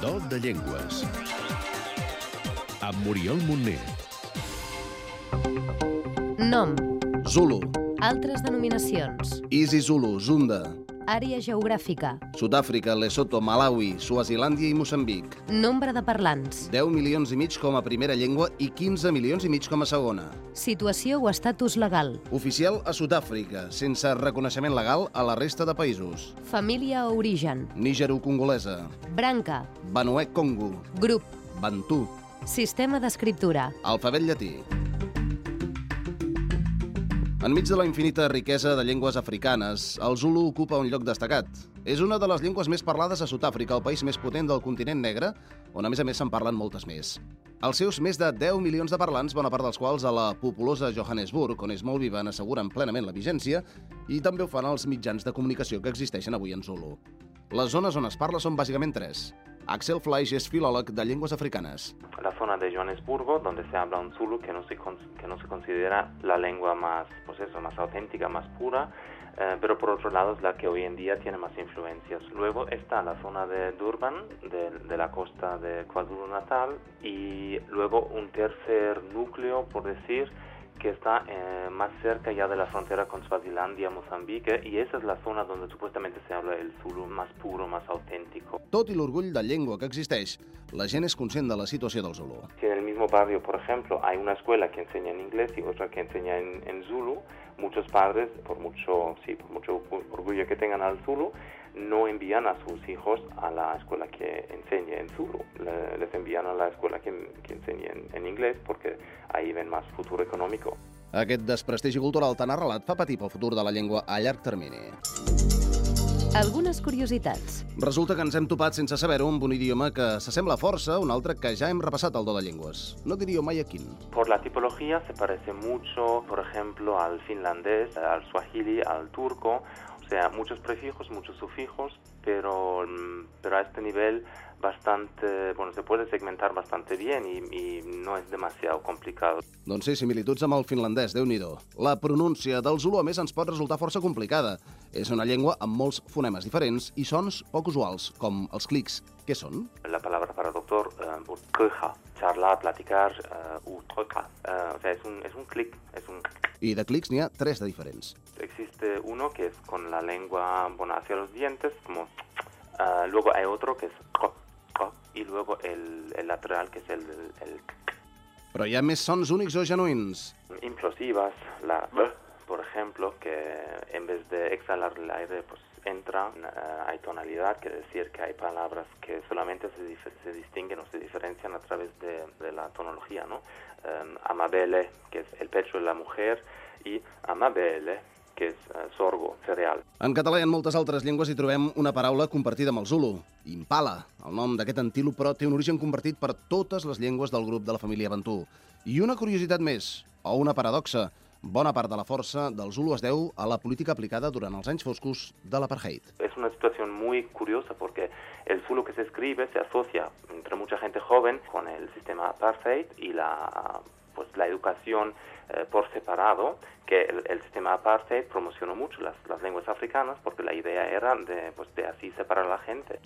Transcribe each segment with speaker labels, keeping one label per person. Speaker 1: Club de Llengües. Amb Muriel Montner.
Speaker 2: Nom,
Speaker 3: Zulu,
Speaker 2: altres denominacions,
Speaker 3: Isi Zulu, Zunda,
Speaker 2: àrea geogràfica,
Speaker 3: Sud-àfrica, Lesotho, Malawi, Suazilàndia i Moçambic.
Speaker 2: nombre de parlants,
Speaker 3: 10 milions i mig com a primera llengua i 15 milions i mig com a segona.
Speaker 2: situació o estatus legal,
Speaker 3: Oficial a Sud-àfrica, sense reconeixement legal a la resta de països.
Speaker 2: família o origen,
Speaker 3: Nígero-congolesa,
Speaker 2: branca,
Speaker 3: Banuè Congo,
Speaker 2: grup,
Speaker 3: Bantu,
Speaker 2: sistema d'escriptura,
Speaker 3: alfabet llatí. Enmig de la infinita riquesa de llengües africanes, el Zulu ocupa un lloc destacat. És una de les llengües més parlades a Sud-àfrica, el país més potent del continent negre, on a més a més se'n parlen moltes més. Els seus més de 10 milions de parlants, bona part dels quals a la populosa Johannesburg, on és molt viva, n'asseguren plenament la vigència, i també ho fan els mitjans de comunicació que existeixen avui en Zulu. Les zones on es parla són bàsicament tres. Axel Fleisch és filòleg de llengües africanes.
Speaker 4: la zona de Johannesburgo, donde se habla un Zulu que no se, con- que no se considera la lengua más, pues eso, más auténtica, más pura, eh, pero por otro lado es la que hoy en día tiene más influencias. Luego está la zona de Durban, de, de la costa de KwaZulu-Natal, y luego un tercer núcleo, por decir, que está eh, más cerca ya de la frontera con Swazilandia, Mozambique, y esa es la zona donde supuestamente se habla el Zulu más puro, más auténtico.
Speaker 3: Tot i l'orgull de llengua que existeix, la gent és conscient de la situació del Zulu.
Speaker 4: Si en el mismo barrio, por ejemplo, hay una escuela que enseña en inglés y otra que enseña en, en Zulu, muchos padres, por mucho, sí, por mucho orgullo que tengan al Zulu, no envían a sus hijos a la escuela que enseñe en Zulu. Le- Les envían a la escuela que, que enseñe en, en inglés porque ahí ven más futuro económico.
Speaker 3: Aquest desprestigi cultural tan arrelat fa patir pel futur de la llengua a llarg termini.
Speaker 2: algunes curiositats,
Speaker 3: Resulta que ens hem topat sense saber-ho amb un idioma que s'assembla força a un altre que ja hem repassat al do de llengües. No diríeu mai a quin.
Speaker 4: Por la tipología se parece mucho, por ejemplo, al finlandés, al swahili, al turco, o sea, muchos prefijos, muchos sufijos, pero, mm, pero a este nivel bastante, bueno, se puede segmentar bastante bien y, y no es demasiado complicado.
Speaker 3: Doncs sí, similituds amb el finlandès, déu nhi La pronúncia del Zulu, a més, ens pot resultar força complicada. És una llengua amb molts fonemes diferents i sons poc usuals, com els clics. Què són?
Speaker 4: La palabra para doctor, eh, utkeja, charlar, platicar, eh, utreka, eh, o sea, es un, es un clic, es un...
Speaker 3: I de clics n'hi ha tres de diferents.
Speaker 4: Existe uno que es con la lengua bueno, hacia los dientes, como... ah, luego hay otro que es... co, co, y luego el, el lateral que es el... el-
Speaker 3: Però hi ha més sons únics o genuïns.
Speaker 4: implosivas, la... b, por ejemplo, que en vez de exhalar el aire, pues entra, ah, hay tonalidad, quiere decir que hay palabras que solamente se, dif- se distinguen o se diferencian a través de, de la tonología, ¿no? Em, amabele, que es el pecho de la mujer, y amabele, que es eh, sorgo, cereal.
Speaker 3: En català i en moltes altres llengües hi trobem una paraula compartida amb el Zulu, impala. El nom d'aquest antílop, però, té un origen compartit per totes les llengües del grup de la família Bantú. I una curiositat més, o una paradoxa. Bona part de la força del Zulu es deu a la política aplicada durant els anys foscos de l'apartheid.
Speaker 4: es una situación muy curiosa porque el Zulu que se escribe se asocia entre mucha gente joven con el sistema apartheid y la pues la educación eh, por separado que el, el sistema apartheid promocionó mucho las, las lenguas africanas porque la idea era de pues de así separar a la gente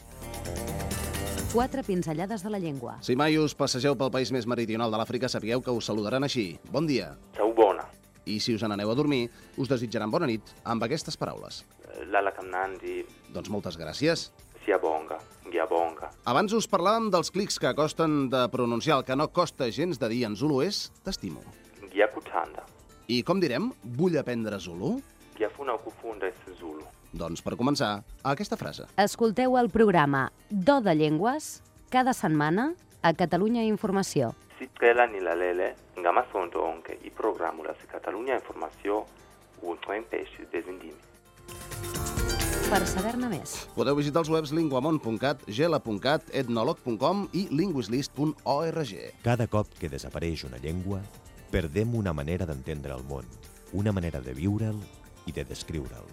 Speaker 2: quatre pinzellades de la llengua.
Speaker 3: Si mai us passegeu pel país més meridional de l'Àfrica, sapigueu que us saludaran així. Bon dia.
Speaker 4: Chaubona
Speaker 3: I si us n'aneu a dormir, us desitjaran bona nit amb aquestes paraules.
Speaker 4: eh, Lala Kamnandi
Speaker 3: Doncs moltes gràcies.
Speaker 4: Siabonga Giabonga
Speaker 3: Abans us parlàvem dels clics que costen de pronunciar. El que no costa gens de dir en Zulu és t'estimo.
Speaker 4: Giacuchanda
Speaker 3: I com direm, vull aprendre Zulu?
Speaker 4: Giafuna Okufunda es Zulu
Speaker 3: Doncs per començar, aquesta frase.
Speaker 2: Escolteu el programa Do de Llengües cada setmana a Catalunya Informació.
Speaker 4: sicela nilalele ngamasonto onke iprogramu laseCatalunya Information uchwenpeshi bezindimi
Speaker 2: Per saber-ne més,
Speaker 3: Podeu visitar els webs linguamont.cat, gela.cat, etnolog.com i linguislist.org.
Speaker 5: Cada cop que desapareix una llengua, perdem una manera d'entendre el món, una manera de viure'l i de descriure'l.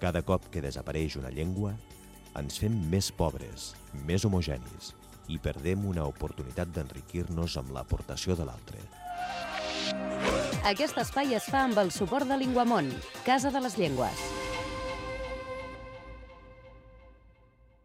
Speaker 5: Cada cop que desapareix una llengua, ens fem més pobres, més homogenis i perdem una oportunitat d'enriquir-nos amb l'aportació de l'altre.
Speaker 2: aquest espai es fa amb el suport de Linguamont, Casa de les Llengües.